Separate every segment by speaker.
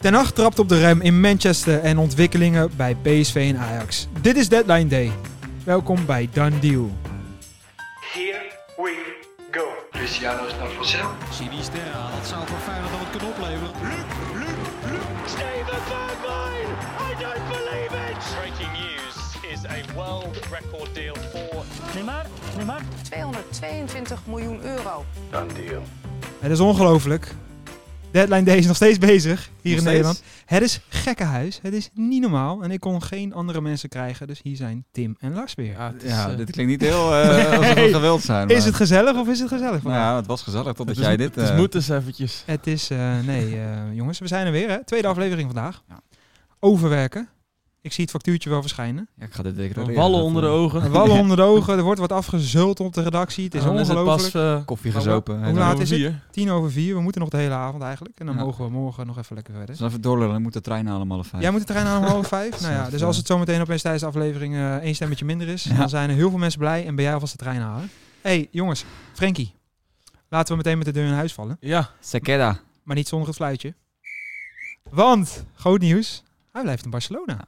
Speaker 1: Ten Hag trapt op de rem in Manchester en ontwikkelingen bij PSV en Ajax. Dit is Deadline Day. Welkom bij Done Deal.
Speaker 2: Here we go. Cristiano is naar Vassel.
Speaker 3: Sinisterra, dat zou voor Feyenoord dan wat kunnen opleveren.
Speaker 4: Steven Bergwijn! I don't believe it! Breaking news is a world record deal for
Speaker 5: 222 miljoen euro.
Speaker 1: Het is ongelooflijk. Deadline Day is nog steeds bezig hier in
Speaker 6: steeds?
Speaker 1: Nederland. Het is gekkenhuis. Het is niet normaal. En ik kon geen andere mensen krijgen. Dus hier zijn Tim en Lars weer.
Speaker 7: Ah,
Speaker 6: Ja, dit klinkt niet heel eh alsof we
Speaker 1: Nee.
Speaker 6: geweld zijn.
Speaker 1: Is
Speaker 6: maar-
Speaker 1: het gezellig of is het gezellig?
Speaker 6: Nou ja, het was gezellig totdat
Speaker 7: Het is-
Speaker 6: jij dit...
Speaker 7: Het is
Speaker 6: eh,
Speaker 7: moet eens eventjes.
Speaker 1: Het is, eh, nee eh, jongens, we zijn er weer hè. Tweede aflevering vandaag.
Speaker 6: Ja.
Speaker 1: Overwerken. Ik zie het factuurtje wel verschijnen.
Speaker 6: ja, ik ga dit declareren.
Speaker 7: Wallen
Speaker 6: dat,
Speaker 7: onder de
Speaker 6: eh,
Speaker 7: ogen.
Speaker 1: Wallen onder de ogen, er wordt wat afgezult op de redactie. Het is
Speaker 7: Dan het
Speaker 1: ongelooflijk.
Speaker 7: pas, eh,
Speaker 6: Koffie gezopen.
Speaker 1: Hoe
Speaker 6: en
Speaker 1: laat
Speaker 6: dan
Speaker 7: om
Speaker 1: is het?
Speaker 7: vier.
Speaker 1: Tien over vier, we moeten nog de hele avond eigenlijk. En dan
Speaker 6: Ja.
Speaker 1: mogen we morgen nog even lekker verder.
Speaker 6: Dus even doorlullen, dan moet de trein halen om half vijf.
Speaker 1: Jij moet de trein aan om half vijf. Nou ja, dus als het zometeen opeens tijdens de aflevering eh, één stemmetje minder is,
Speaker 6: Ja.
Speaker 1: dan zijn er heel veel mensen blij en ben jij alvast de trein halen. hey, jongens, Frankie, laten we meteen met de deur in huis vallen.
Speaker 7: Ja,
Speaker 6: Sekeda.
Speaker 1: Maar niet zonder het fluitje. Want, groot nieuws, hij blijft in Barcelona.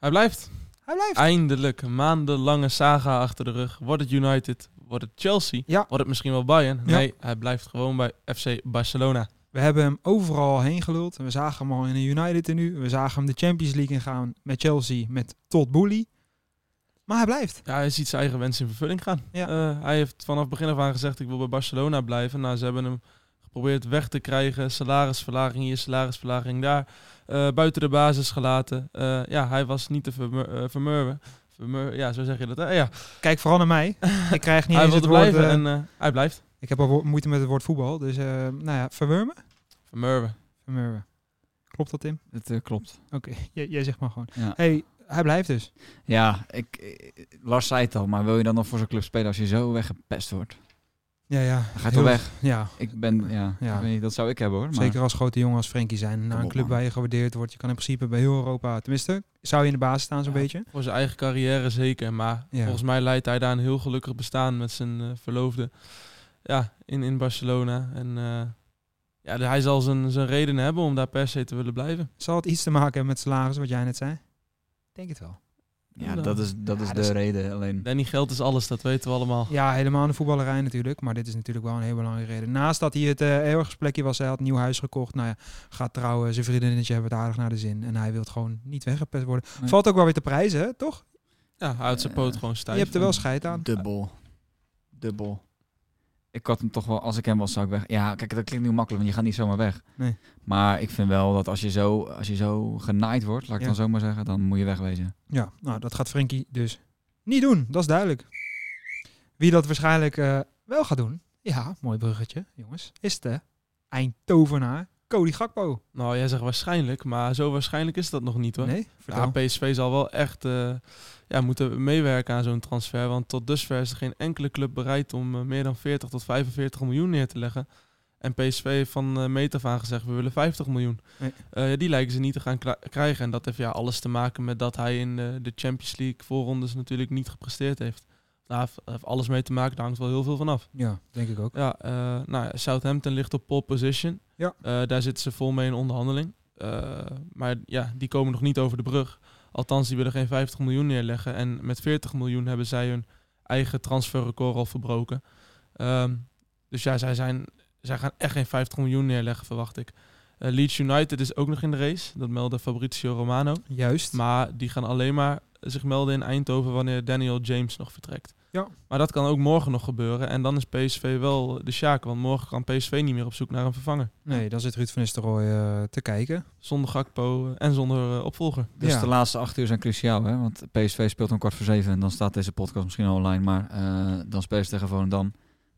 Speaker 7: hij blijft.
Speaker 1: Hij blijft.
Speaker 7: Eindelijk, een maandenlange saga achter de rug. Wordt het United? Wordt het Chelsea?
Speaker 1: Ja.
Speaker 7: Wordt het misschien wel Bayern?
Speaker 1: Ja.
Speaker 7: Nee, hij blijft gewoon bij FC Barcelona.
Speaker 1: We hebben hem overal heen geluld. We zagen hem al in de United en nu. We zagen hem de Champions League ingaan met Chelsea, met Todd Boehly. Maar hij blijft.
Speaker 7: Ja, hij ziet zijn eigen wens in vervulling gaan.
Speaker 1: Ja.
Speaker 7: Eh, hij heeft vanaf begin af aan gezegd, ik wil bij Barcelona blijven. Nou, ze hebben hem geprobeerd weg te krijgen. Salarisverlaging hier, salarisverlaging daar. Eh, buiten de basis gelaten. Eh, ja, hij was niet te vermur- eh, vermurwen. Vermur- ja, zo zeg je dat. hè? ja.
Speaker 1: Kijk vooral naar mij. Ik krijg niet
Speaker 7: hij
Speaker 1: eens het
Speaker 7: wilde
Speaker 1: woord...
Speaker 7: blijven
Speaker 1: eh,
Speaker 7: en eh, hij blijft.
Speaker 1: ik heb al wo- moeite met het woord voetbal. Dus, eh, nou ja, verwurmen?
Speaker 7: Vermurwen.
Speaker 1: Vermurwen. Klopt dat, Tim?
Speaker 6: Het eh, klopt.
Speaker 1: Oké, jij- jij zegt maar gewoon.
Speaker 6: Ja.
Speaker 1: hey, hij blijft dus.
Speaker 6: Ja, ik, eh, Lars zei het al, maar wil je dan nog voor zo'n club spelen als je zo weggepest wordt?
Speaker 1: Ja, ja.
Speaker 6: Dan ga je
Speaker 1: Heel-
Speaker 6: toch weg?
Speaker 1: Ja,
Speaker 6: Ik ben, ja,
Speaker 1: Ja.
Speaker 6: Ik weet niet, dat zou ik hebben hoor. Maar
Speaker 1: zeker als grote jongen als Frenkie zijn. Naar
Speaker 6: Kom
Speaker 1: een
Speaker 6: op,
Speaker 1: club
Speaker 6: man.
Speaker 1: waar je gewaardeerd wordt. Je kan in principe bij heel Europa... Tenminste, zou je in de basis staan zo'n
Speaker 7: Ja.
Speaker 1: beetje.
Speaker 7: Voor zijn eigen carrière zeker. Maar
Speaker 1: Ja.
Speaker 7: volgens mij leidt hij daar een heel gelukkig bestaan met zijn eh, verloofde. Ja, in, in Barcelona. En eh, ja, hij zal zijn, zijn redenen hebben om daar per se te willen blijven.
Speaker 1: Zal het iets te maken hebben met salaris, wat jij net zei? Ik Denk het wel.
Speaker 6: Ja, dat is, dat is
Speaker 1: Ja,
Speaker 6: de
Speaker 1: dat is-
Speaker 6: reden alleen.
Speaker 7: Danny, geld is alles, dat weten we allemaal.
Speaker 1: Ja, helemaal in de voetballerij natuurlijk. Maar dit is natuurlijk wel een heel belangrijke reden. Naast dat hij het eh ergensplekje was, hij had een nieuw huis gekocht. Nou ja, gaat trouwen. Zijn vriendinnetje hebben het aardig naar de zin. En hij wil gewoon niet weggepest worden.
Speaker 6: Nee.
Speaker 1: Valt ook wel weer te prijzen, hè? toch?
Speaker 7: Ja, hij houdt zijn poot
Speaker 6: Eh,
Speaker 7: gewoon stijf.
Speaker 1: Je hebt er wel scheid aan.
Speaker 6: Dubbel. Dubbel. Ik had hem toch wel, als ik hem was, zou ik weg. Ja, kijk, dat klinkt nu makkelijk, want je gaat niet zomaar weg.
Speaker 1: Nee.
Speaker 6: Maar ik vind wel dat als je zo, als je zo genaaid wordt, laat ik
Speaker 1: Ja.
Speaker 6: dan zomaar zeggen, dan moet je wegwezen.
Speaker 1: Ja, nou, dat gaat Frenkie dus niet doen. Dat is duidelijk. Wie dat waarschijnlijk eh, wel gaat doen, ja, mooi bruggetje, jongens, is de eindtovenaar Cody Gakpo.
Speaker 7: Nou, jij zegt waarschijnlijk, maar zo waarschijnlijk is dat nog niet hoor.
Speaker 1: Nee, Nou. vertel.
Speaker 7: Ja, PSV zal wel echt eh, ja, moeten meewerken aan zo'n transfer. Want tot dusver is er geen enkele club bereid om eh, meer dan 40 tot 45 miljoen neer te leggen. En PSV heeft van eh meet af aan gezegd, we willen 50 miljoen.
Speaker 1: Nee.
Speaker 7: Eh, ja, die lijken ze niet te gaan kla- krijgen. En dat heeft ja, alles te maken met dat hij in eh, de, de Champions League voorrondes natuurlijk niet gepresteerd heeft. Daar heeft, heeft alles mee te maken, daar hangt wel heel veel van af.
Speaker 1: Ja, denk ik ook.
Speaker 7: Ja, eh, nou, ja, Southampton ligt op pole position.
Speaker 1: Ja.
Speaker 7: Eh, daar zitten ze vol mee in onderhandeling. Eh, maar ja, die komen nog niet over de brug. Althans, die willen geen 50 miljoen neerleggen. En met 40 miljoen hebben zij hun eigen transferrecord al verbroken. Ehm, dus ja, zij, zijn, zij gaan echt geen 50 miljoen neerleggen, verwacht ik. Eh, Leeds United is ook nog in de race. Dat meldde Fabrizio Romano.
Speaker 1: Juist.
Speaker 7: Maar die gaan alleen maar zich melden in Eindhoven wanneer Daniel James nog vertrekt.
Speaker 1: Ja.
Speaker 7: Maar dat kan ook morgen nog gebeuren. En dan is PSV wel de sjaak. Want morgen kan PSV niet meer op zoek naar een vervanger.
Speaker 1: Nee, dan zit Ruud van Nistelrooy eh, te kijken.
Speaker 7: Zonder Gakpo eh, en zonder eh, opvolger.
Speaker 6: Dus
Speaker 1: Ja.
Speaker 6: de laatste acht uur zijn cruciaal, hè? Want PSV speelt om kwart voor zeven en dan staat deze podcast misschien al online, maar eh, dan spelen ze tegen Volendam.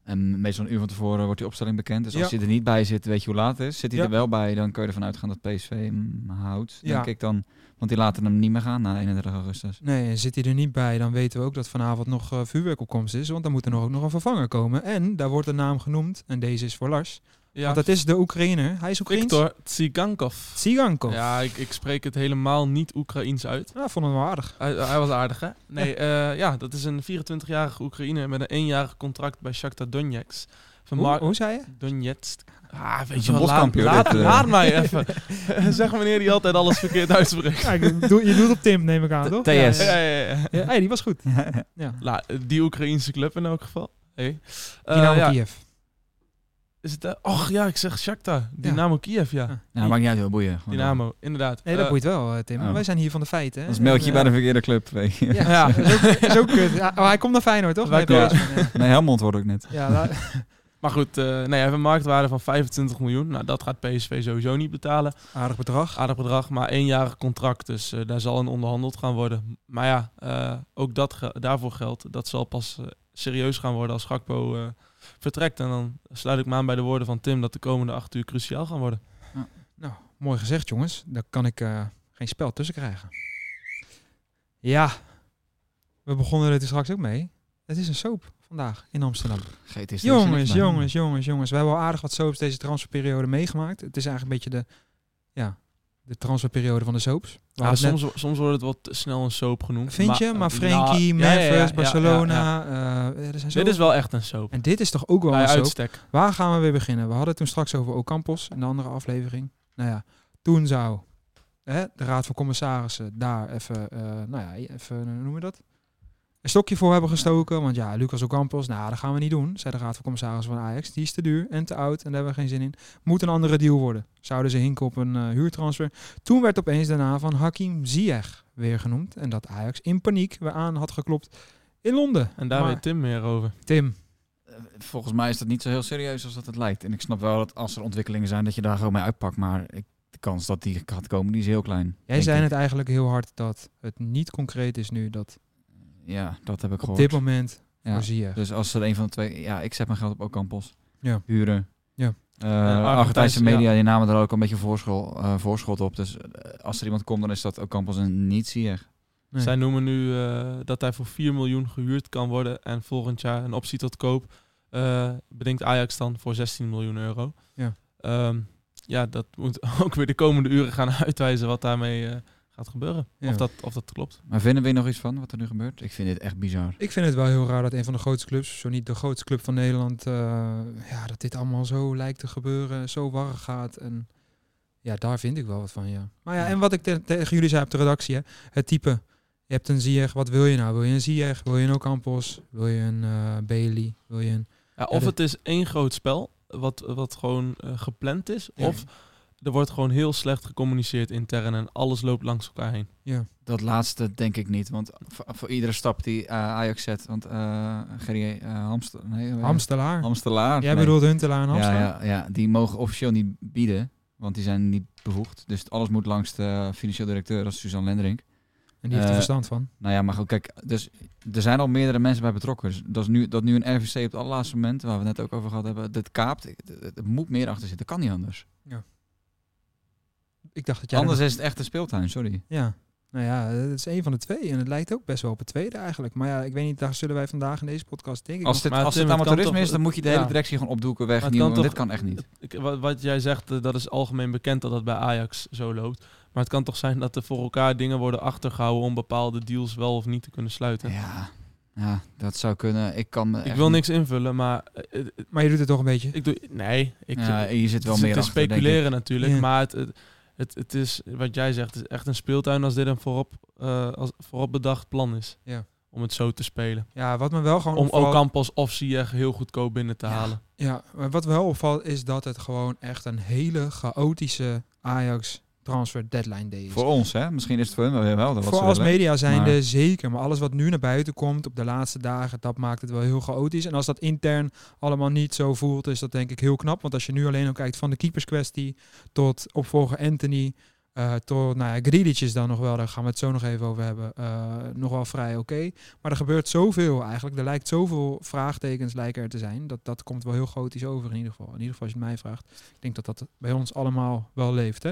Speaker 6: En meestal een uur van tevoren wordt die opstelling bekend. Dus als
Speaker 1: Ja.
Speaker 6: je er niet bij zit, weet je hoe laat het is. Zit hij
Speaker 1: Ja.
Speaker 6: er wel bij, dan kun je ervan uitgaan dat PSV hem houdt.
Speaker 1: Ja.
Speaker 6: Denk ik dan. Want die laten hem niet meer gaan na 31 augustus.
Speaker 1: Nee, en zit hij er niet bij, dan weten we ook dat vanavond nog eh, vuurwerk op komst is. Want dan moet er nog ook nog een vervanger komen. En daar wordt een naam genoemd, en deze is voor Lars.
Speaker 7: Ja,
Speaker 1: Want dat is de Oekraïner. Hij is Oekraïns.
Speaker 7: Victor Tsigankov.
Speaker 1: Tsigankov.
Speaker 7: Ja, ik, ik spreek het helemaal niet Oekraïens uit.
Speaker 1: Nou, vond hem wel aardig.
Speaker 7: Hij, hij was aardig, hè? Nee, eh, ja, dat is een 24-jarige Oekraïner met een eenjarig contract bij Shakhtar Donetsk. Van
Speaker 1: Hoe,
Speaker 7: Mark
Speaker 1: hoe zei je?
Speaker 7: Donetsk. Ah,
Speaker 6: is
Speaker 7: weet je
Speaker 6: een
Speaker 7: wat, laat,
Speaker 6: boskampioen,
Speaker 7: laat,
Speaker 6: dit, eh.
Speaker 7: laat mij even. zeg wanneer hij altijd alles verkeerd uitspreekt.
Speaker 1: Ja, ik doe, je doet op Tim, neem ik aan, toch?
Speaker 6: TS.
Speaker 1: Ja,
Speaker 7: Ja, ja, ja, ja.
Speaker 1: Ja, hey, die was goed. Ja.
Speaker 7: La- die Oekraïense club in elk geval. Hey. Eh,
Speaker 1: Dynamo
Speaker 7: ja,
Speaker 1: Kiev.
Speaker 7: Is het, eh, och ja, ik zeg Shakhtar. Dynamo Kiev, ja.
Speaker 1: Ja.
Speaker 6: Nou, maakt niet uit, heel boeien. Gewoon
Speaker 7: Dynamo, inderdaad.
Speaker 1: Nee, dat
Speaker 7: Eh,
Speaker 1: boeit wel, eh, Tim.
Speaker 6: oh.
Speaker 1: Wij zijn hier van de feiten. Hè?
Speaker 6: Anders meld je bij de verkeerde club. Weet je.
Speaker 1: Ja,
Speaker 7: Ja.
Speaker 1: Dat is ook, dat is ook kut. Ja, oh, hij komt naar Feyenoord, toch?
Speaker 7: Wij
Speaker 1: Nee,
Speaker 7: komen-
Speaker 1: PSV, ja.
Speaker 6: Nee, Helmond hoorde ik net.
Speaker 1: Ja, daar-
Speaker 7: Maar goed, eh, nee, hij heeft een marktwaarde van 25 miljoen. Nou, dat gaat PSV sowieso niet betalen.
Speaker 1: aardig bedrag. Ah,
Speaker 7: Aardig bedrag, maar éénjarig contract. Dus eh, daar zal in onderhandeld gaan worden. Maar ja, eh, ook dat ge- daarvoor geldt. Dat zal pas eh, serieus gaan worden als Gakpo eh, vertrekt. En dan sluit ik me aan bij de woorden van Tim dat de komende acht uur cruciaal gaan worden.
Speaker 1: Nou, mooi gezegd, jongens. Daar kan ik eh, geen spel tussen krijgen. Ja, we begonnen er straks ook mee. Het is een soap vandaag in Amsterdam.
Speaker 6: Geet is er
Speaker 1: Jongens,
Speaker 6: niks bij.
Speaker 1: jongens, jongens, jongens. We hebben al aardig wat soaps deze transferperiode meegemaakt. Het is eigenlijk een beetje de, ja, de transferperiode van de soaps. We
Speaker 7: Ja,
Speaker 1: hadden het net-
Speaker 7: soms, soms wordt het wel te snel een soap genoemd.
Speaker 1: vind je? Maar
Speaker 7: eh,
Speaker 1: Frenkie,
Speaker 7: nou, ja,
Speaker 1: Memphis,
Speaker 7: ja, ja, ja, ja, ja.
Speaker 1: Barcelona. eh, er zijn zo...
Speaker 7: Dit is Nou wel echt een soap.
Speaker 1: En dit is toch ook wel
Speaker 7: Bij
Speaker 1: een soap?
Speaker 7: uitstek.
Speaker 1: Waar gaan we weer beginnen? We hadden het toen straks over Ocampos in de andere aflevering. Nou ja, toen zou hè, de Raad van Commissarissen daar even, eh, nou ja, even, eh, hoe noem je dat? Een stokje voor hebben gestoken. Want ja, Lucas Ocampos, nou dat gaan we niet doen, zei de Raad van Commissarissen van Ajax. Die is te duur en te oud en daar hebben we geen zin in. Moet een andere deal worden. Zouden ze hinken op een eh, huurtransfer. Toen werd opeens daarna van Hakim Ziyech weer genoemd. En dat Ajax in paniek weer aan had geklopt in Londen.
Speaker 7: En daar
Speaker 1: Maar-
Speaker 7: weet Tim meer over.
Speaker 1: Tim,
Speaker 6: Volgens mij is dat niet zo heel serieus als dat het lijkt. En ik snap wel dat als er ontwikkelingen zijn, dat je daar gewoon mee uitpakt. Maar ik, de kans dat die gaat komen, die is heel klein.
Speaker 1: jij
Speaker 6: denk
Speaker 1: zei
Speaker 6: ik.
Speaker 1: het eigenlijk heel hard dat het niet concreet is nu dat
Speaker 6: Ja, dat heb ik
Speaker 1: Op
Speaker 6: gehoord.
Speaker 1: dit moment
Speaker 6: Ja.
Speaker 1: voor Ziyech.
Speaker 6: Dus als er een van de twee... Ja, ik zet mijn geld op Ocampos.
Speaker 1: Ja.
Speaker 6: Huren.
Speaker 1: Ja.
Speaker 6: Eh,
Speaker 7: Argentijnse-
Speaker 6: Argentijnse media die namen daar ook een beetje voorschot, voorschot op. Dus eh, als er iemand komt, dan is dat Ocampos en niet Ziyech.
Speaker 1: Nee.
Speaker 7: Zij noemen nu eh, dat hij voor 4 miljoen gehuurd kan worden en volgend jaar een optie tot koop eh, bedenkt Ajax dan voor 16 miljoen euro.
Speaker 1: Ja.
Speaker 7: Ehm, ja, dat moet ook weer de komende uren gaan uitwijzen wat daarmee eh, gaat gebeuren.
Speaker 1: Ja.
Speaker 7: Of, dat, of dat klopt.
Speaker 6: Maar vinden we hier nog iets van, wat er nu gebeurt? Ik vind dit echt bizar.
Speaker 1: Ik vind het wel heel raar dat een van de grootste clubs, zo niet de grootste club van Nederland, eh, ja, dat dit allemaal zo lijkt te gebeuren, zo warrig gaat. En ja, daar vind ik wel wat van, ja. Maar ja, en wat ik te- tegen jullie zei op de redactie, hè, het type. Je hebt een Ziyech, wat wil je nou? Wil je een Ziyech? Wil je een Ocampos? Wil je een eh, Bailey? Wil je een...
Speaker 7: Ja, of
Speaker 1: dat-
Speaker 7: het is één groot spel wat, wat gewoon eh, gepland is,
Speaker 1: Ja.
Speaker 7: of er wordt gewoon heel slecht gecommuniceerd intern en alles loopt langs elkaar heen.
Speaker 6: Dat laatste denk ik niet, want voor, voor iedere stap die eh, Ajax zet, want eh Gerrie eh, Hamster, nee, hoe heet het?
Speaker 1: Hamstelaar?
Speaker 6: Hamstelaar.
Speaker 1: Jij
Speaker 6: nee.
Speaker 1: bedoelt Huntelaar en
Speaker 6: ja,
Speaker 1: Hamstelaar?
Speaker 6: ja, ja, die mogen officieel niet bieden, want die zijn niet bevoegd. Dus alles moet langs de financieel directeur, dat is Suzanne Lendering.
Speaker 1: En die heeft er
Speaker 6: Eh,
Speaker 1: verstand van.
Speaker 6: Nou ja, maar goed, kijk, dus er zijn al meerdere mensen bij betrokken. Dus dat, is nu, dat nu een RVC op het allerlaatste moment, waar we het net ook over gehad hebben, dit kaapt, het- het- er moet meer achter zitten, kan niet anders.
Speaker 1: Ik dacht dat jij...
Speaker 6: anders is het echt een speeltuin, sorry.
Speaker 1: Ja, nou ja, het is een van de twee. En het lijkt ook best wel op het tweede eigenlijk. Maar ja, ik weet niet, daar zullen wij vandaag in deze podcast denk ik
Speaker 6: Als
Speaker 1: nog-
Speaker 6: dit,
Speaker 7: maar
Speaker 6: als
Speaker 7: Tim,
Speaker 6: dit
Speaker 7: het kan
Speaker 6: amateurisme
Speaker 7: toch-
Speaker 6: is, dan moet je de hele
Speaker 1: ja.
Speaker 6: directie gewoon opdoeken,
Speaker 7: kan
Speaker 6: wegnieuwen, want
Speaker 7: toch-
Speaker 6: dit kan echt niet.
Speaker 7: Ik- wa- wat jij zegt, eh, dat is algemeen bekend dat dat bij Ajax zo loopt. Maar het kan toch zijn dat er voor elkaar dingen worden achtergehouden om bepaalde deals wel of niet te kunnen sluiten.
Speaker 6: Ja, ja, dat zou kunnen. Ik kan me
Speaker 7: ik
Speaker 6: echt
Speaker 7: wil
Speaker 6: niet-
Speaker 7: niks invullen, maar eh, eh,
Speaker 1: Maar je doet het toch een beetje?
Speaker 7: ik doe. Nee, ik.
Speaker 6: Ja, hier zit wel
Speaker 7: het is
Speaker 6: meer
Speaker 7: te
Speaker 6: achter, denk ik.
Speaker 7: speculeren natuurlijk,
Speaker 1: Ja.
Speaker 7: maar het, het, het, het is wat jij zegt, het is echt een speeltuin als dit een voorop, eh, als voorop bedacht plan is.
Speaker 1: Ja.
Speaker 7: Om het zo te spelen.
Speaker 1: Ja, wat me wel gewoon
Speaker 7: Om
Speaker 1: opvalt...
Speaker 7: Ocampos of Ziyech heel goedkoop binnen te
Speaker 1: Ja.
Speaker 7: halen.
Speaker 1: Ja, maar wat wel opvalt is dat het gewoon echt een hele chaotische Ajax transfer deadline day is.
Speaker 6: Voor ons, hè? Misschien is het voor hun wel wel. Wat
Speaker 1: Voor
Speaker 6: ze
Speaker 1: als
Speaker 6: willen.
Speaker 1: media zijnde
Speaker 6: maar-
Speaker 1: zeker, maar alles wat nu naar buiten komt op de laatste dagen, dat maakt het wel heel chaotisch. En als dat intern allemaal niet zo voelt, is dat denk ik heel knap. Want als je nu alleen al kijkt van de keeperskwestie tot opvolger Anthony, eh, tot, nou ja, Grealish is dan nog wel, daar gaan we het zo nog even over hebben, eh, nog wel vrij oké. Maar er gebeurt zoveel eigenlijk, er lijkt zoveel vraagtekens lijken er te zijn, dat dat komt wel heel chaotisch over in ieder geval. In ieder geval als je het mij vraagt. Ik denk dat dat bij ons allemaal wel leeft, hè.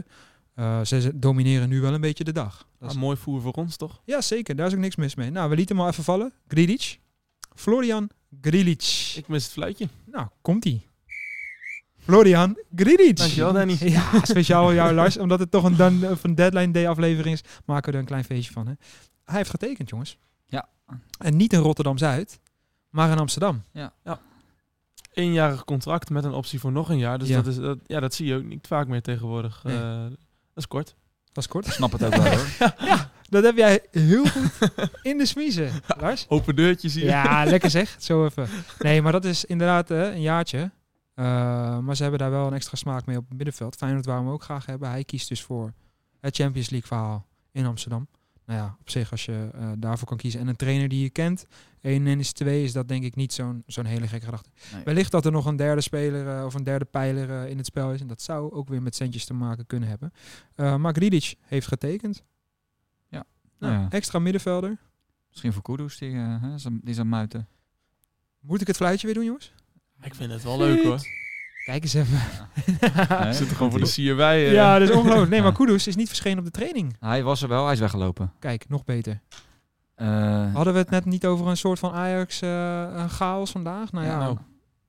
Speaker 1: Eh, ze ze domineren nu wel een beetje de dag. Dat
Speaker 7: Maar
Speaker 1: is
Speaker 7: mooi voer voor ons toch?
Speaker 1: ja, zeker. Daar is ook niks mis mee. Nou, we lieten hem al even vallen. Grilic. Florian Grilic.
Speaker 7: Ik mis het fluitje.
Speaker 1: Nou, komt-ie. Florian Grilic.
Speaker 7: Dankjewel Danny.
Speaker 1: Ja, speciaal voor jou, Lars. Omdat het toch een, dan, of een deadline day aflevering is, maken we er een klein feestje van. Hè? Hij heeft getekend, jongens.
Speaker 6: Ja.
Speaker 1: En niet in Rotterdam-Zuid, maar in Amsterdam.
Speaker 6: Ja.
Speaker 7: Ja. eenjarig contract met een optie voor nog een jaar. Dus
Speaker 1: Ja.
Speaker 7: dat, is, dat, ja, dat zie je ook niet vaak meer tegenwoordig.
Speaker 1: Nee.
Speaker 7: Eh, dat is kort.
Speaker 1: Dat is kort.
Speaker 6: Snap het ook wel hoor.
Speaker 1: Dat heb jij heel goed in de smiezen, Lars.
Speaker 7: Open deurtje zie je.
Speaker 1: Ja, lekker zeg. Zo even. Nee, maar dat is inderdaad eh, een jaartje. Eh, maar ze hebben daar wel een extra smaak mee op het middenveld. Feyenoord wou hem ook graag hebben. Hij kiest dus voor het Champions League verhaal in Amsterdam. Nou ja, op zich als je eh, daarvoor kan kiezen. En een trainer die je kent. 1 en is 2 is dat denk ik niet zo'n zo'n hele gekke gedachte.
Speaker 6: Nee.
Speaker 1: Wellicht dat er nog een derde speler eh, of een derde pijler eh, in het spel is. En dat zou ook weer met centjes te maken kunnen hebben. Eh maar Gridic heeft getekend.
Speaker 6: Nou ja,
Speaker 1: Extra middenvelder.
Speaker 6: misschien voor Kudus, die, eh, hè, zijn- die zijn muiten.
Speaker 1: Moet ik het fluitje weer doen, jongens?
Speaker 7: Ik vind het wel leuk hoor.
Speaker 1: Kijk eens even.
Speaker 6: Nee,
Speaker 7: Ik zit er gewoon
Speaker 6: komt-ie.
Speaker 7: voor de sierwij. eh.
Speaker 1: Ja, dat is ongelooflijk. Nee, maar
Speaker 6: Ja.
Speaker 1: Kudus is niet verschenen op de training.
Speaker 6: Hij was er wel, hij is weggelopen.
Speaker 1: Kijk, nog beter.
Speaker 7: Oh.
Speaker 6: Eh,
Speaker 1: Hadden we het net niet over een soort van Ajax eh, een chaos vandaag? Nou ja,
Speaker 7: Ja, nou.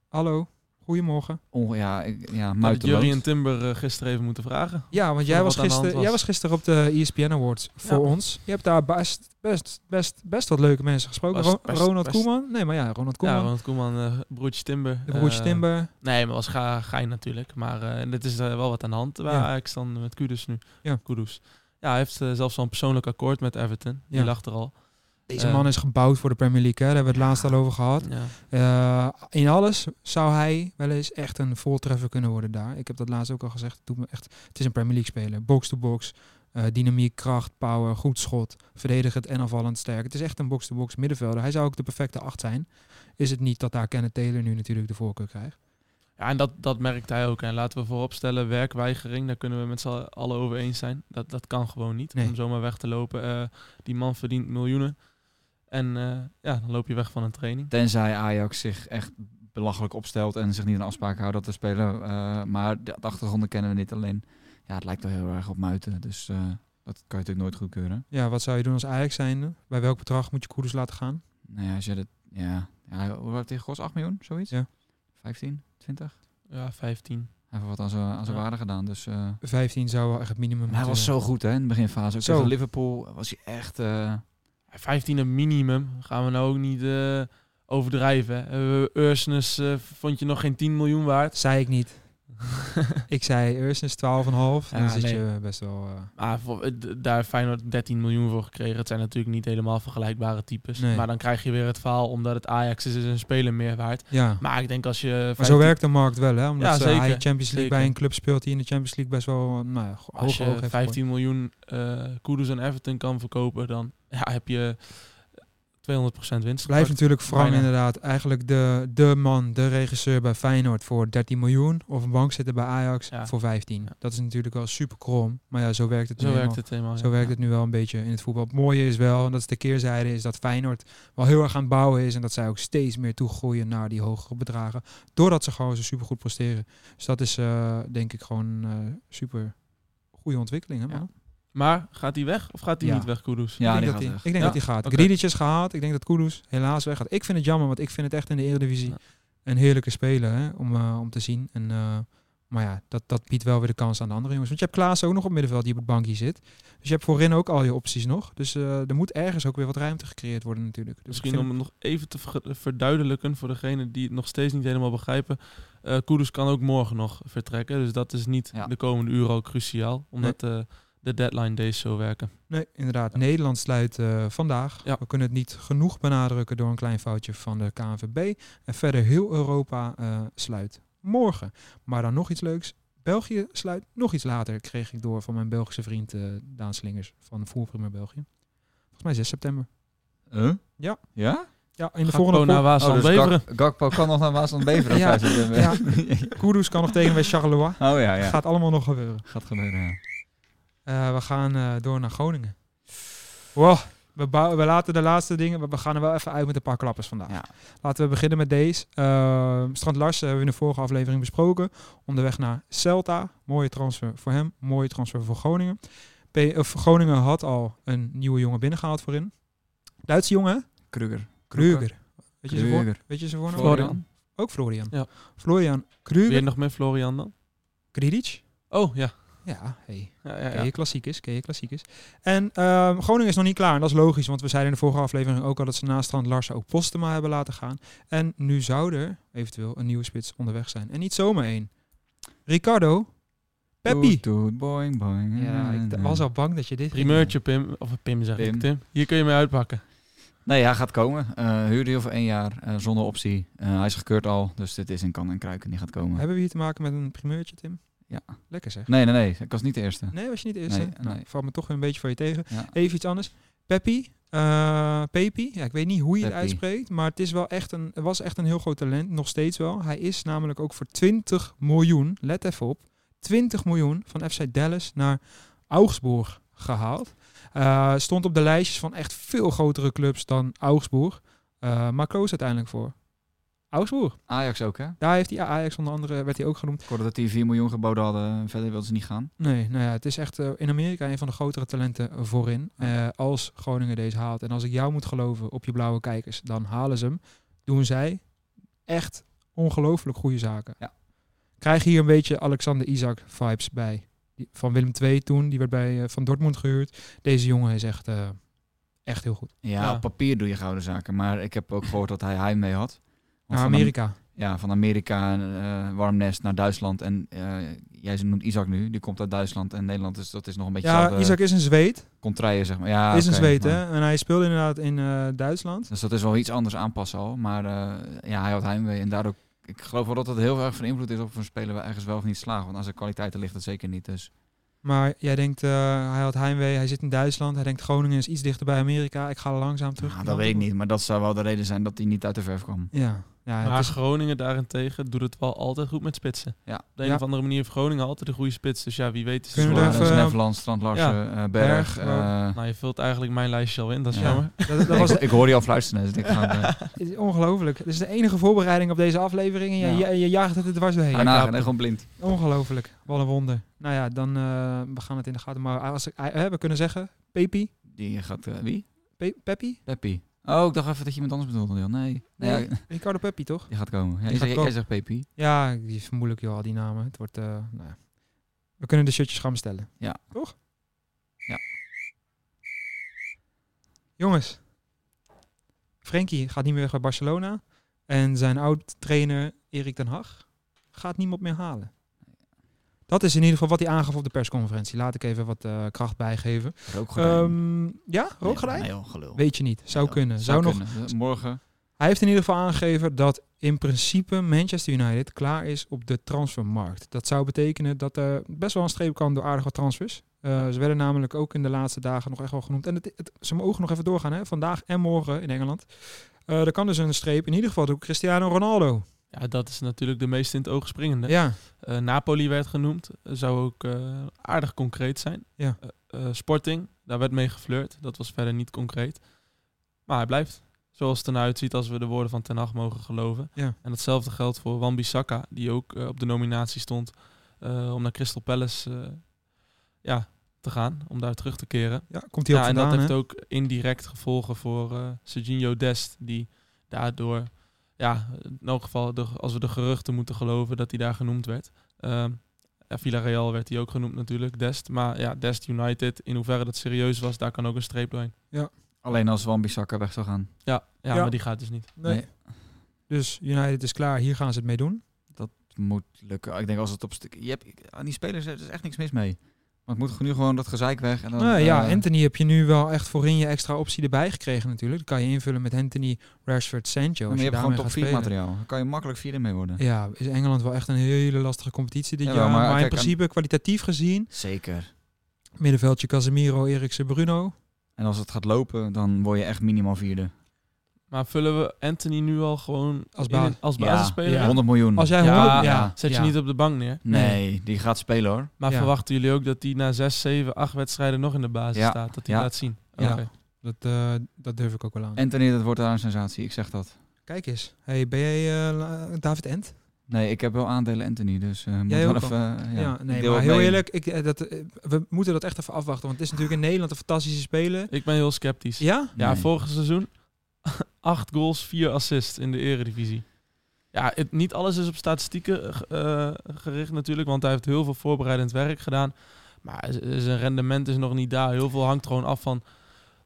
Speaker 1: hallo. Goedemorgen.
Speaker 6: onge- ja, ik- ja
Speaker 7: Had
Speaker 6: muiten
Speaker 7: Jurrie en Timber eh, gisteren even moeten vragen.
Speaker 1: Ja, want jij
Speaker 7: Wat
Speaker 1: was,
Speaker 7: aan de hand
Speaker 1: gister,
Speaker 7: was.
Speaker 1: jij was gisteren op de E ESPN Awards voor
Speaker 7: Ja.
Speaker 1: ons. Je hebt daar best, best, best, best wat leuke mensen gesproken.
Speaker 7: Best,
Speaker 1: Ro-
Speaker 7: best,
Speaker 1: Ronald
Speaker 7: best.
Speaker 1: Koeman. Nee, maar ja, Ronald
Speaker 7: Ja,
Speaker 1: Koeman.
Speaker 7: want Koeman, eh broertje Timber.
Speaker 1: de broertje
Speaker 7: eh,
Speaker 1: Timber.
Speaker 7: Nee, maar was ga, gein natuurlijk. Maar eh dit is eh, wel wat aan de hand. Waar
Speaker 1: Ja.
Speaker 7: Ajax dan met Kudus nu.
Speaker 1: Ja.
Speaker 7: Kudus. Ja, hij heeft eh, zelfs al een persoonlijk akkoord met Everton. Die
Speaker 1: Ja.
Speaker 7: lag er al.
Speaker 1: Deze
Speaker 7: eh,
Speaker 1: man is gebouwd voor de Premier League. Hè. Daar hebben we het laatst al over gehad.
Speaker 7: Ja.
Speaker 1: Eh, in alles zou hij wel eens echt een voltreffer kunnen worden daar. Ik heb dat laatst ook al gezegd. Het, doet me echt, het is een Premier League speler. Box-to-box, eh, dynamiek, kracht, power, goed schot, verdedigend en afvallend sterk. Het is echt een box-to-box middenvelder. Hij zou ook de perfecte acht zijn. Is het niet dat daar Kenneth Taylor nu natuurlijk de voorkeur krijgt?
Speaker 7: Ja, en dat, dat merkt hij ook. En laten we vooropstellen, werkweigering, daar kunnen we met z'n allen over eens zijn. Dat, dat kan gewoon niet,
Speaker 1: Nee.
Speaker 7: om zomaar weg te lopen. Eh, die man verdient miljoenen. En eh, ja, dan loop je weg van een training.
Speaker 6: Tenzij Ajax zich echt belachelijk opstelt en zich niet aan afspraken houdt dat te spelen. eh, maar de de achtergronden kennen we niet alleen. Ja, het lijkt wel heel erg op muiten. Dus eh, dat kan je natuurlijk nooit goedkeuren.
Speaker 1: Ja, wat zou je doen als Ajax zijnde? Bij welk bedrag moet je Koeders laten gaan?
Speaker 6: Nou ja, als je dat... Ja, ja hij- hoe werd hij gekost? 8 miljoen, zoiets?
Speaker 1: Ja.
Speaker 6: 15, 20?
Speaker 7: Ja, 15.
Speaker 6: Hij heeft wat aan zijn aan zijn
Speaker 7: Ja.
Speaker 6: waarde gedaan, dus... eh,
Speaker 1: 15 zou wel echt het minimum
Speaker 6: En hij was
Speaker 1: moeten
Speaker 6: zo goed hè, in de beginfase. Ook
Speaker 1: Zo.
Speaker 6: tegen Liverpool was hij echt... eh,
Speaker 7: Ja, 15 een minimum. Gaan we nou ook niet eh, overdrijven. hè. Eh, Ursinus eh, vond je nog geen 10 miljoen waard.
Speaker 1: Zei ik niet. ik zei eerst is 12,5. dan
Speaker 7: Ja,
Speaker 1: zit
Speaker 7: nee.
Speaker 1: je best wel... eh,
Speaker 7: Maar voor- eh, d- daar heeft Feyenoord 13 miljoen voor gekregen. Het zijn natuurlijk niet helemaal vergelijkbare types.
Speaker 1: Nee.
Speaker 7: Maar dan krijg je weer het verhaal, omdat het Ajax is, is een speler meer waard.
Speaker 1: ja.
Speaker 7: Maar ik denk als je...
Speaker 1: Maar zo
Speaker 7: 15
Speaker 1: werkt de markt wel, hè? Omdat
Speaker 7: Ja,
Speaker 1: ze-
Speaker 7: zeker,
Speaker 1: hij Champions League
Speaker 7: zeker.
Speaker 1: bij een club speelt die in de Champions League best wel eh, nou ja, go-
Speaker 7: Als
Speaker 1: hoog
Speaker 7: je
Speaker 1: hoog heeft
Speaker 7: 15 miljoen eh Kudus en Everton kan verkopen, dan ja, heb je 200% winst.
Speaker 1: Blijft
Speaker 7: gepakt.
Speaker 1: natuurlijk Frank
Speaker 7: Bijna.
Speaker 1: inderdaad eigenlijk de, de man, de regisseur bij Feyenoord voor 13 miljoen. Of een bank zitten bij Ajax
Speaker 7: Ja.
Speaker 1: voor 15.
Speaker 7: Ja.
Speaker 1: Dat is natuurlijk wel super krom. Maar ja, zo werkt het nu
Speaker 7: Zo werkt
Speaker 1: eenmaal.
Speaker 7: het helemaal.
Speaker 1: Zo werkt het nu wel een beetje in het voetbal. Het mooie is wel, en dat is de keerzijde, is dat Feyenoord wel heel erg aan het bouwen is. En dat zij ook steeds meer toegroeien naar die hogere bedragen. Doordat ze gewoon zo super goed presteren. Dus dat is eh, denk ik gewoon eh, super goede ontwikkeling. Hè,
Speaker 6: Ja.
Speaker 1: man?
Speaker 7: Maar gaat hij weg of gaat hij
Speaker 1: Ja.
Speaker 7: niet weg, Kudus?
Speaker 1: ik
Speaker 6: ja, die
Speaker 1: denk,
Speaker 6: gaat
Speaker 1: dat, hij,
Speaker 6: weg.
Speaker 1: ik denk
Speaker 7: Ja,
Speaker 1: dat hij gaat.
Speaker 7: oké.
Speaker 1: Gridic is gehaald. Ik denk dat Kudus helaas weggaat. Ik vind het jammer, want ik vind het echt in de Eredivisie
Speaker 7: Ja.
Speaker 1: een heerlijke speler hè, om, eh, om te zien. En, eh, maar ja, dat, dat biedt wel weer de kans aan de andere jongens. Want je hebt Klaas ook nog op middenveld die op het bankje zit. Dus je hebt voorin ook al je opties nog. Dus eh, er moet ergens ook weer wat ruimte gecreëerd worden natuurlijk. Dus ik
Speaker 7: Misschien
Speaker 1: vind
Speaker 7: om het nog even te verge- verduidelijken voor degenen die het nog steeds niet helemaal begrijpen. Eh Kudus kan ook morgen nog vertrekken. Dus dat is niet
Speaker 6: Ja.
Speaker 7: de komende uren al cruciaal. Omdat eh, de deadline days zo werken.
Speaker 1: Nee, inderdaad. Nederland sluit eh, vandaag.
Speaker 7: Ja.
Speaker 1: We kunnen het niet genoeg benadrukken door een klein foutje van de KNVB. En verder heel Europa eh, sluit morgen. Maar dan nog iets leuks. België sluit nog iets later, kreeg ik door van mijn Belgische vriend eh, Daan Slingers van Voerprimer België. Volgens mij 6 september.
Speaker 6: Huh?
Speaker 1: Ja.
Speaker 6: Ja?
Speaker 1: Ja, in de
Speaker 7: Gakpo
Speaker 1: volgende oh,
Speaker 7: naar
Speaker 1: pot.
Speaker 7: Waasland
Speaker 6: dus
Speaker 7: Beveren.
Speaker 6: Gak- Gakpo kan nog naar Waasland Beveren.
Speaker 1: Ja.
Speaker 6: ja.
Speaker 1: Ja. Kudus kan nog tegen bij Charleroi.
Speaker 6: Oh ja, ja.
Speaker 1: Gaat allemaal nog gebeuren.
Speaker 6: Gaat gebeuren, ja.
Speaker 1: Eh, we gaan eh, door naar Groningen. Wow, we, bouwen, we laten de laatste dingen, maar we gaan er wel even uit met een paar klappers vandaag.
Speaker 6: Ja.
Speaker 1: Laten we beginnen met deze. Eh, Strand Larsen hebben we in de vorige aflevering besproken. Onderweg naar Celta. Mooie transfer voor hem, mooie transfer voor Groningen. P of Groningen had al een nieuwe jongen binnengehaald voorin. Duitse jongen, hè?
Speaker 6: Kruger.
Speaker 1: Kruger. Weet je zijn voor-
Speaker 6: Kruger.
Speaker 1: weet je zijn voornaam?
Speaker 7: Florian.
Speaker 1: Ook Florian.
Speaker 7: Ja.
Speaker 1: Florian
Speaker 7: Weer
Speaker 1: Kruger.
Speaker 7: nog meer Florian dan?
Speaker 1: Kridic.
Speaker 7: Oh ja.
Speaker 1: Ja, hey.
Speaker 7: Ja, ja,
Speaker 1: Ken
Speaker 7: ja.
Speaker 1: je klassiek is, ken je klassiek is. En ehm, Groningen is nog niet klaar. En dat is logisch, want we zeiden in de vorige aflevering ook al dat ze naast Strand Larsen ook Postema hebben laten gaan. En nu zou er eventueel een nieuwe spits onderweg zijn. En niet zomaar één. Ricardo, Peppi.
Speaker 6: Toet, toet, boing, boing.
Speaker 1: Ja, ik d- was al bang dat je dit...
Speaker 7: Primeurtje, Pim. Of Pim zeg
Speaker 6: Pim.
Speaker 7: ik, Tim. Hier kun je mee uitpakken.
Speaker 6: Nee, ja, gaat komen. Eh huurde heel voor één jaar, eh, zonder optie. Eh, hij is gekeurd al, dus dit is een kan en kruiken die gaat komen.
Speaker 1: Hebben we hier te maken met een primeurtje, Tim?
Speaker 6: Ja.
Speaker 1: Lekker zeg.
Speaker 6: Nee, nee, nee. Ik was niet de eerste.
Speaker 1: Nee, was je niet de eerste?
Speaker 6: Nee,
Speaker 1: Nou,
Speaker 6: nee.
Speaker 1: valt me toch weer een beetje van je tegen.
Speaker 6: Ja.
Speaker 1: Even iets anders. Peppi, eh Pepi, ja, ik weet niet hoe je het
Speaker 6: Peppi.
Speaker 1: uitspreekt, maar het is wel echt een, het was echt een heel groot talent, nog steeds wel. Hij is namelijk ook voor 20 miljoen, let even op, 20 miljoen van FC Dallas naar Augsburg gehaald. Eh, stond op de lijstjes van echt veel grotere clubs dan Augsburg, Eh, maar koos uiteindelijk voor Augsburg.
Speaker 6: Ajax ook, hè?
Speaker 1: Daar heeft hij Ajax onder andere, werd hij ook genoemd.
Speaker 6: Ik hoorde dat die 4 miljoen geboden hadden. Verder wilden ze niet gaan.
Speaker 1: Nee, nou ja, het is echt eh, in Amerika een van de grotere talenten eh, voorin. Eh, als Groningen deze haalt. En als ik jou moet geloven op je blauwe kijkers, dan halen ze hem. Doen zij echt ongelooflijk goede zaken.
Speaker 6: Ja.
Speaker 1: Krijg je hier een beetje Alexander Isaac vibes bij. Die, van Willem II toen, die werd bij eh, Van Dortmund gehuurd. Deze jongen is echt, eh, echt heel goed.
Speaker 6: Ja,
Speaker 7: Ja.
Speaker 6: Nou, op papier doe je gouden zaken. Maar ik heb ook gehoord dat hij heimwee had. Want
Speaker 1: Naar
Speaker 6: van
Speaker 1: Amerika.
Speaker 6: Am- ja, van Amerika, eh warm nest naar Duitsland. En eh, jij noemt Isaac nu. Die komt uit Duitsland en Nederland. Dus dat is nog een beetje
Speaker 1: Ja,
Speaker 6: hetzelfde
Speaker 1: Isaac is een Zweed.
Speaker 6: contraien, zeg maar. Ja,
Speaker 1: is een
Speaker 6: oké,
Speaker 1: Zweed,
Speaker 6: maar-
Speaker 1: hè. En hij speelde inderdaad in eh, Duitsland.
Speaker 6: Dus dat is wel iets anders aanpassen al. Maar eh, ja, hij had heimwee. En daardoor, ik geloof wel dat dat heel erg van invloed is op een speler waar ergens wel of niet slagen. Want aan zijn kwaliteiten ligt dat zeker niet. Dus
Speaker 1: Maar jij denkt, eh, hij had heimwee, hij zit in Duitsland. Hij denkt, Groningen is iets dichter bij Amerika. Ik ga langzaam terug.
Speaker 6: ja, Nou, dat weet ik niet. Maar dat zou wel de reden zijn dat hij niet uit de verf kwam.
Speaker 1: Ja, ja het
Speaker 7: maar
Speaker 1: is-
Speaker 7: Groningen daarentegen doet het wel altijd goed met spitsen.
Speaker 6: Ja.
Speaker 7: Op de een
Speaker 1: Ja.
Speaker 7: of andere manier heeft Groningen altijd een goede spits. Dus ja, wie weet is het
Speaker 1: Kunnen we
Speaker 7: wel-
Speaker 1: daar
Speaker 6: Lawrence,
Speaker 1: even-
Speaker 6: Neverland, Strand Larsen, eh, Berg.
Speaker 1: Berg,
Speaker 6: eh,
Speaker 7: Nou, je vult eigenlijk mijn lijstje al in. Dat is
Speaker 6: Ja.
Speaker 7: jammer.
Speaker 1: dat, dat was
Speaker 6: ik, ik hoor je al fluisteren. Dus ik ga, eh,
Speaker 1: het is ongelooflijk. Het is de enige voorbereiding op deze aflevering en je,
Speaker 6: Ja.
Speaker 1: je, je jaagt het er dwars doorheen.
Speaker 6: daarna gaan we gewoon blind.
Speaker 1: Ongelooflijk. Wat een wonder. Nou ja, dan eh, we gaan het in de gaten. Maar als ik, eh, we kunnen zeggen, Pepi,
Speaker 6: Die gaat... eh, wie?
Speaker 1: Pe- Peppi,
Speaker 6: Peppy. Oh, ik dacht even dat je iemand anders bedoelde. joh. Nee. nee.
Speaker 1: Nee.
Speaker 6: ja,
Speaker 1: Ricardo Peppi, toch?
Speaker 6: die gaat komen. Ja,
Speaker 1: Die
Speaker 6: jij,
Speaker 1: gaat
Speaker 6: zegt- jij
Speaker 1: komen.
Speaker 6: zegt Peppy.
Speaker 1: Ja, die is moeilijk joh, al die namen. Het wordt, eh, nou ja. We kunnen de shirtjes gaan bestellen.
Speaker 6: Ja.
Speaker 1: Toch?
Speaker 6: Ja.
Speaker 1: Jongens. Frenkie gaat niet meer weg bij Barcelona. En zijn oud-trainer Erik ten Hag gaat niemand meer halen. Dat is in ieder geval wat hij aangaf op de persconferentie. Laat ik even wat eh, kracht bijgeven.
Speaker 6: Rookgordijn.
Speaker 1: Ehm, ja, rookgordijn?
Speaker 6: Nee, joh, gelul.
Speaker 1: Weet je niet. Zou
Speaker 6: Ja,
Speaker 1: kunnen. Zou, nog
Speaker 6: kunnen. Eh, Morgen.
Speaker 1: hij heeft in ieder geval aangegeven dat in principe Manchester United klaar is op de transfermarkt. Dat zou betekenen dat er best wel een streep kan door aardige transfers. Eh, ze werden namelijk ook in de laatste dagen nog echt wel genoemd. En het, het- ze mogen nog even doorgaan, hè? vandaag en morgen in Engeland. Eh er kan dus een streep, in ieder geval door Cristiano Ronaldo.
Speaker 7: Ja, dat is natuurlijk de meest in het oog springende.
Speaker 1: Ja,
Speaker 7: Eh, Napoli werd genoemd. Eh, zou ook eh, aardig concreet zijn.
Speaker 1: Ja.
Speaker 7: Eh, eh, Sporting, daar werd mee geflirt. Dat was verder niet concreet. Maar hij blijft. Zoals het eruit ziet als we de woorden van Ten Hag mogen geloven.
Speaker 1: Ja.
Speaker 7: En datzelfde geldt voor Wan-Bissaka, die ook eh, op de nominatie stond eh, om naar Crystal Palace eh, ja, te gaan. Om daar terug te keren.
Speaker 1: ja komt hij ook
Speaker 7: ja, en dat
Speaker 1: vandaan.
Speaker 7: heeft
Speaker 1: hè?
Speaker 7: ook indirect gevolgen voor eh Serginho Dest, die daardoor, ja, in elk geval, de, als we de geruchten moeten geloven, dat hij daar genoemd werd. Ehm ja, Villarreal werd hij ook genoemd natuurlijk, Dest. Maar ja, Dest United, in hoeverre dat serieus was, daar kan ook een streep doorheen.
Speaker 6: Alleen als Wan-Bissaka weg zou gaan.
Speaker 7: Ja, ja,
Speaker 1: Ja.
Speaker 7: maar die gaat dus niet.
Speaker 1: Nee.
Speaker 6: Nee.
Speaker 1: Dus United is klaar, hier gaan ze het mee doen.
Speaker 6: Het moet lukken. Ik denk als het op stuk... Je hebt, aan die spelers er is echt niks mis mee. Maar het moet nu gewoon dat gezeik weg. En dan,
Speaker 1: Nou ja,
Speaker 6: eh,
Speaker 1: Anthony heb je nu wel echt voorin je extra optie erbij gekregen natuurlijk. Dat kan je invullen met Anthony, Rashford, Sancho.
Speaker 6: Maar
Speaker 1: als
Speaker 6: je hebt
Speaker 1: daarmee
Speaker 6: gewoon top
Speaker 1: gaat
Speaker 6: 4
Speaker 1: spelen.
Speaker 6: materiaal. Daar kan je makkelijk vierde mee worden.
Speaker 1: Ja, is Engeland wel echt een hele lastige competitie dit
Speaker 6: Jawel,
Speaker 1: jaar.
Speaker 6: maar
Speaker 1: Maar, in
Speaker 6: kijk,
Speaker 1: principe, kwalitatief gezien,
Speaker 6: Zeker.
Speaker 1: middenveldje Casemiro, Eriksen, Bruno.
Speaker 6: En als het gaat lopen, dan word je echt minimaal vierde.
Speaker 7: Maar vullen we Anthony nu al gewoon
Speaker 1: Als
Speaker 7: in-
Speaker 1: baas.
Speaker 7: als
Speaker 6: Ja,
Speaker 7: basisspeler?
Speaker 1: Ja.
Speaker 6: 100 miljoen.
Speaker 1: Als jij
Speaker 7: Ja,
Speaker 1: 100
Speaker 6: Hmm. ja.
Speaker 7: Zet je niet op de bank neer.
Speaker 6: Nee, die gaat spelen hoor.
Speaker 7: Maar
Speaker 1: Ja.
Speaker 7: verwachten jullie ook dat hij na 6, 7, 8 wedstrijden nog in de basis
Speaker 6: Ja.
Speaker 7: staat? Dat hij
Speaker 6: Ja.
Speaker 7: laat zien?
Speaker 1: Ja.
Speaker 7: Oké.
Speaker 1: Dat, eh, dat durf ik ook wel aan.
Speaker 6: Anthony, dat wordt daar een sensatie. Ik zeg dat.
Speaker 1: Kijk eens. Hey, ben jij eh, La- David Ent?
Speaker 6: Nee, ik heb wel aandelen Anthony, dus eh moet
Speaker 1: Jij
Speaker 6: wel
Speaker 1: ook al?
Speaker 6: even... eh,
Speaker 1: Ja,
Speaker 6: ja,
Speaker 1: nee,
Speaker 6: deel
Speaker 1: maar
Speaker 6: ook
Speaker 1: heel
Speaker 6: mee.
Speaker 1: eerlijk, ik, eh, dat, eh, we moeten dat echt even afwachten. Want het is natuurlijk in Nederland een fantastische speler.
Speaker 7: Ik ben heel sceptisch.
Speaker 1: Ja?
Speaker 7: Ja,
Speaker 6: Nee.
Speaker 7: vorig seizoen 8 goals, 4 assists in de eredivisie. Ja, het, niet alles is op statistieken eh, ge- eh, gericht natuurlijk, want hij heeft heel veel voorbereidend werk gedaan. Maar z- zijn rendement is nog niet daar. Heel veel hangt gewoon af van,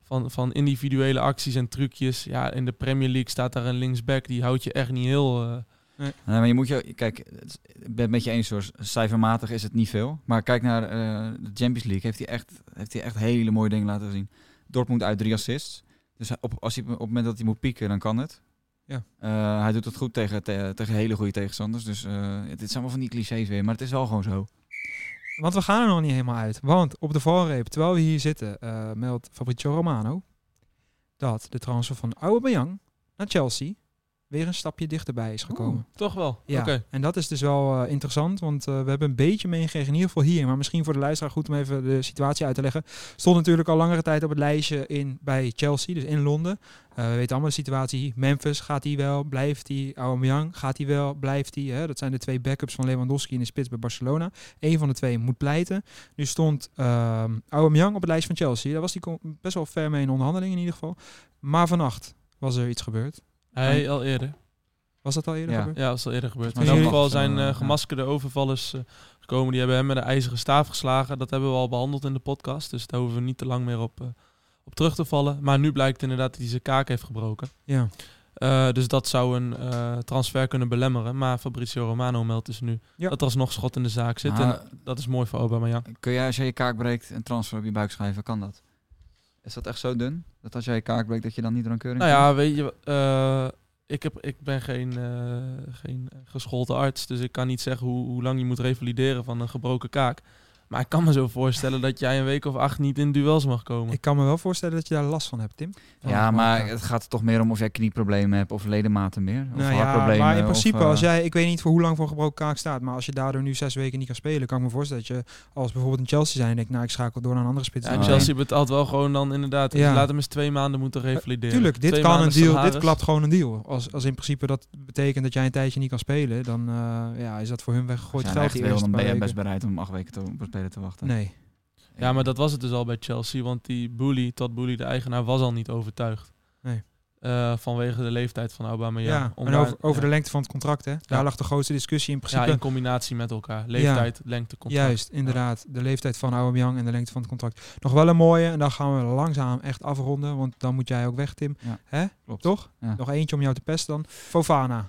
Speaker 7: van, van individuele acties en trucjes. Ja, in de Premier League staat daar een linksback. Die houdt je echt niet heel... eh,
Speaker 6: Nee, maar je moet je, kijk, het is- ik ben het met je eens hoor, cijfermatig is het niet veel. Maar kijk naar eh, de Champions League, heeft hij echt, heeft hij echt hele mooie dingen laten zien. Dortmund uit drie assists. Dus hij- op, als hij, op het moment dat hij moet pieken, dan kan het.
Speaker 1: Ja.
Speaker 6: Eh, hij doet het goed tegen, te- tegen hele goede tegenstanders. Dus eh, dit zijn allemaal van die clichés weer, maar het is wel gewoon zo.
Speaker 1: Want we gaan er nog niet helemaal uit. Want op de valreep, terwijl we hier zitten, eh meldt Fabrizio Romano dat de transfer van Aubameyang naar Chelsea weer een stapje dichterbij is gekomen.
Speaker 7: toch wel.
Speaker 1: Ja,
Speaker 7: Oké.
Speaker 1: en dat is dus wel eh, interessant, want eh, we hebben een beetje meegekregen, in ieder geval hier, maar misschien voor de luisteraar goed om even de situatie uit te leggen. Stond natuurlijk al langere tijd op het lijstje in, bij Chelsea, dus in Londen. Eh, we weten allemaal de situatie, Memphis gaat hij wel, blijft hij, Aubameyang gaat hij wel, blijft hij. hè? Dat zijn de twee backups van Lewandowski in de spits bij Barcelona. Eén van de twee moet pleiten. Nu stond ehm Aubameyang op het lijst van Chelsea, daar was hij kon- best wel ver mee in onderhandeling in ieder geval. Maar vannacht was er iets gebeurd.
Speaker 7: Hij al eerder.
Speaker 1: Was dat al eerder
Speaker 6: Ja.
Speaker 1: gebeurd?
Speaker 7: Ja, dat is al eerder gebeurd.
Speaker 6: Maar
Speaker 7: Maar in ieder
Speaker 1: jullie-
Speaker 7: geval zijn
Speaker 6: eh,
Speaker 7: eh, gemaskerde overvallers eh, gekomen. Die hebben hem met een ijzeren staaf geslagen. Dat hebben we al behandeld in de podcast. Dus daar hoeven we niet te lang meer op, eh, op terug te vallen. Maar nu blijkt inderdaad dat hij zijn kaak heeft gebroken.
Speaker 1: Ja.
Speaker 7: Eh, dus dat zou een eh, transfer kunnen belemmeren. Maar Fabrizio Romano meldt dus nu
Speaker 1: Ja.
Speaker 7: dat er alsnog schot in de zaak zit.
Speaker 6: Maar
Speaker 7: en dat is mooi voor Aubameyang.
Speaker 6: kun jij als jij je kaak breekt een transfer op je buik schrijven, kan dat? Is dat echt zo dun? Dat als jij je kaak breekt, dat je dan niet rankeuring
Speaker 7: Nou
Speaker 1: Mhm.
Speaker 7: ja, weet je, eh, ik, heb, ik ben geen, eh, geen geschoolde arts, dus ik kan niet zeggen hoe, hoe lang je moet revalideren van een gebroken kaak. Maar ik kan me zo voorstellen dat jij een week of acht niet in duels mag komen.
Speaker 1: Ik kan me wel voorstellen dat je daar last van hebt, Tim. Van
Speaker 6: Oh, Ja,
Speaker 1: de
Speaker 6: maar
Speaker 1: Barca.
Speaker 6: het gaat er toch meer om of jij knieproblemen hebt of ledematen meer. Of
Speaker 1: Nou ja,
Speaker 6: hartproblemen.
Speaker 1: maar in
Speaker 6: of,
Speaker 1: principe,
Speaker 6: eh,
Speaker 1: als jij, ik weet niet voor hoe lang voor een gebroken kaak staat, maar als je daardoor nu zes weken niet kan spelen, kan ik me voorstellen dat je, als bijvoorbeeld in Chelsea zijn en denkt, nou ik schakel door naar een andere spits.
Speaker 7: Ja,
Speaker 1: dan
Speaker 7: en
Speaker 6: Ah.
Speaker 1: kan je-
Speaker 7: Chelsea betaalt wel gewoon dan inderdaad.
Speaker 1: Nou, Ja. Eh,
Speaker 7: Dus laat hem eens twee maanden moeten revalideren.
Speaker 1: Tuurlijk, dit
Speaker 7: Twee
Speaker 1: kan een
Speaker 7: maanden
Speaker 1: deal, dit
Speaker 7: salaris.
Speaker 1: klapt gewoon een deal. Als, als in principe dat betekent dat jij een tijdje niet kan spelen, dan eh, ja, is dat voor hun
Speaker 6: als
Speaker 1: weggegooid
Speaker 6: jij
Speaker 1: geld
Speaker 6: echt
Speaker 1: die
Speaker 6: wil,
Speaker 1: eerste
Speaker 6: dan
Speaker 1: paar
Speaker 6: ben je best
Speaker 1: weken.
Speaker 6: bereid om acht weken te, op een speler te wachten.
Speaker 1: Nee,
Speaker 7: Ja, maar dat was het dus al bij Chelsea, want die Booley, tot Booley, de eigenaar, was al niet overtuigd.
Speaker 1: Nee.
Speaker 7: Eh, vanwege de leeftijd van Aubameyang.
Speaker 1: ja.
Speaker 7: Om
Speaker 1: En
Speaker 7: daar-
Speaker 1: over, over
Speaker 7: ja.
Speaker 1: de lengte van het contract, hè? Daar lag de grootste discussie in
Speaker 7: Ja,
Speaker 1: principe.
Speaker 7: in combinatie met elkaar. Leeftijd, lengte, contract.
Speaker 1: Juist, inderdaad. De leeftijd van Aubameyang en de lengte van het contract. Nog wel een mooie. En dan gaan we langzaam echt afronden. Want dan moet jij ook weg, Tim.
Speaker 6: Ja,
Speaker 1: Hè?
Speaker 6: klopt.
Speaker 1: Toch?
Speaker 6: Ja.
Speaker 1: Nog eentje om jou te pesten dan. Fofana.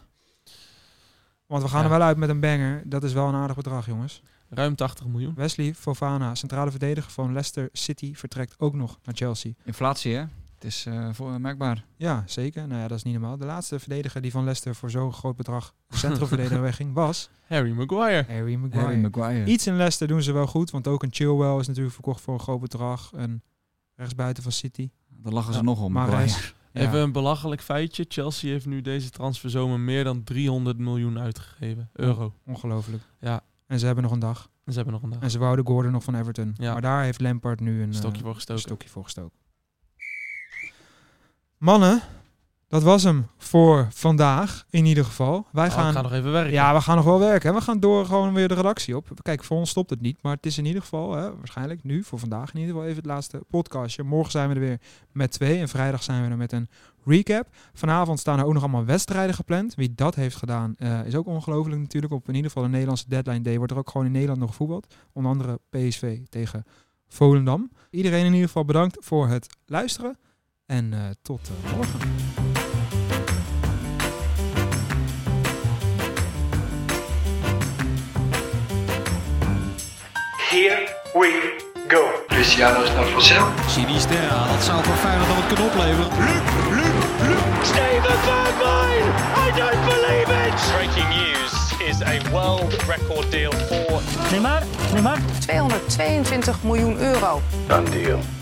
Speaker 1: Want we gaan
Speaker 7: Ja.
Speaker 1: er wel uit met een banger. Dat is wel een aardig bedrag, jongens.
Speaker 7: Ruim 80 miljoen.
Speaker 1: Wesley Fofana, centrale verdediger van Leicester City, vertrekt ook nog naar Chelsea.
Speaker 6: Inflatie, hè? Het is eh, voor, merkbaar.
Speaker 1: Ja, zeker. Nou ja, dat is niet normaal. De laatste verdediger die van Leicester voor zo'n groot bedrag centrumverdediger wegging was
Speaker 7: Harry Maguire.
Speaker 1: Harry Maguire.
Speaker 6: Harry Maguire.
Speaker 1: Iets in Leicester doen ze wel goed, want ook een Chilwell is natuurlijk verkocht voor een groot bedrag. En rechtsbuiten van City.
Speaker 6: Daar lachen ze
Speaker 1: Ja,
Speaker 6: nog om.
Speaker 1: Maar
Speaker 6: Maguire.
Speaker 1: reis. Ja.
Speaker 7: Even een belachelijk feitje. Chelsea heeft nu deze transferzomer meer dan 300 miljoen uitgegeven. Euro.
Speaker 1: Ongelooflijk.
Speaker 7: Ja.
Speaker 1: En ze hebben nog een dag.
Speaker 7: En ze hebben nog een dag
Speaker 1: En ze wouden Gordon nog van Everton.
Speaker 7: Ja.
Speaker 1: Maar daar heeft Lampard nu een
Speaker 7: een stokje
Speaker 1: eh,
Speaker 7: voor gestoken.
Speaker 1: stokje voor gestoken. Mannen, dat was hem voor vandaag in ieder geval. Wij
Speaker 7: Oh,
Speaker 1: gaan
Speaker 7: ik ga nog even werken.
Speaker 1: Ja, we gaan nog wel werken. hè. We gaan door gewoon weer de redactie op. Kijk, voor ons stopt het niet. Maar het is in ieder geval, hè, waarschijnlijk nu, voor vandaag in ieder geval even het laatste podcastje. Morgen zijn we er weer met twee. En vrijdag zijn we er met een recap. Vanavond staan er ook nog allemaal wedstrijden gepland. Wie dat heeft gedaan, eh, is ook ongelooflijk natuurlijk. Op in ieder geval de Nederlandse deadline day wordt er ook gewoon in Nederland nog gevoetbald. Onder andere PSV tegen Volendam. Iedereen in ieder geval bedankt voor het luisteren. En eh, tot eh, morgen.
Speaker 2: Here we go. Luciano's not for sale.
Speaker 3: Sinisterra, dat zou voor Feyenoord dan wat kunnen opleveren.
Speaker 4: Steven Bergwijn! I don't believe it! Breaking news is a world record deal for
Speaker 5: 222 miljoen euro.
Speaker 8: Done deal.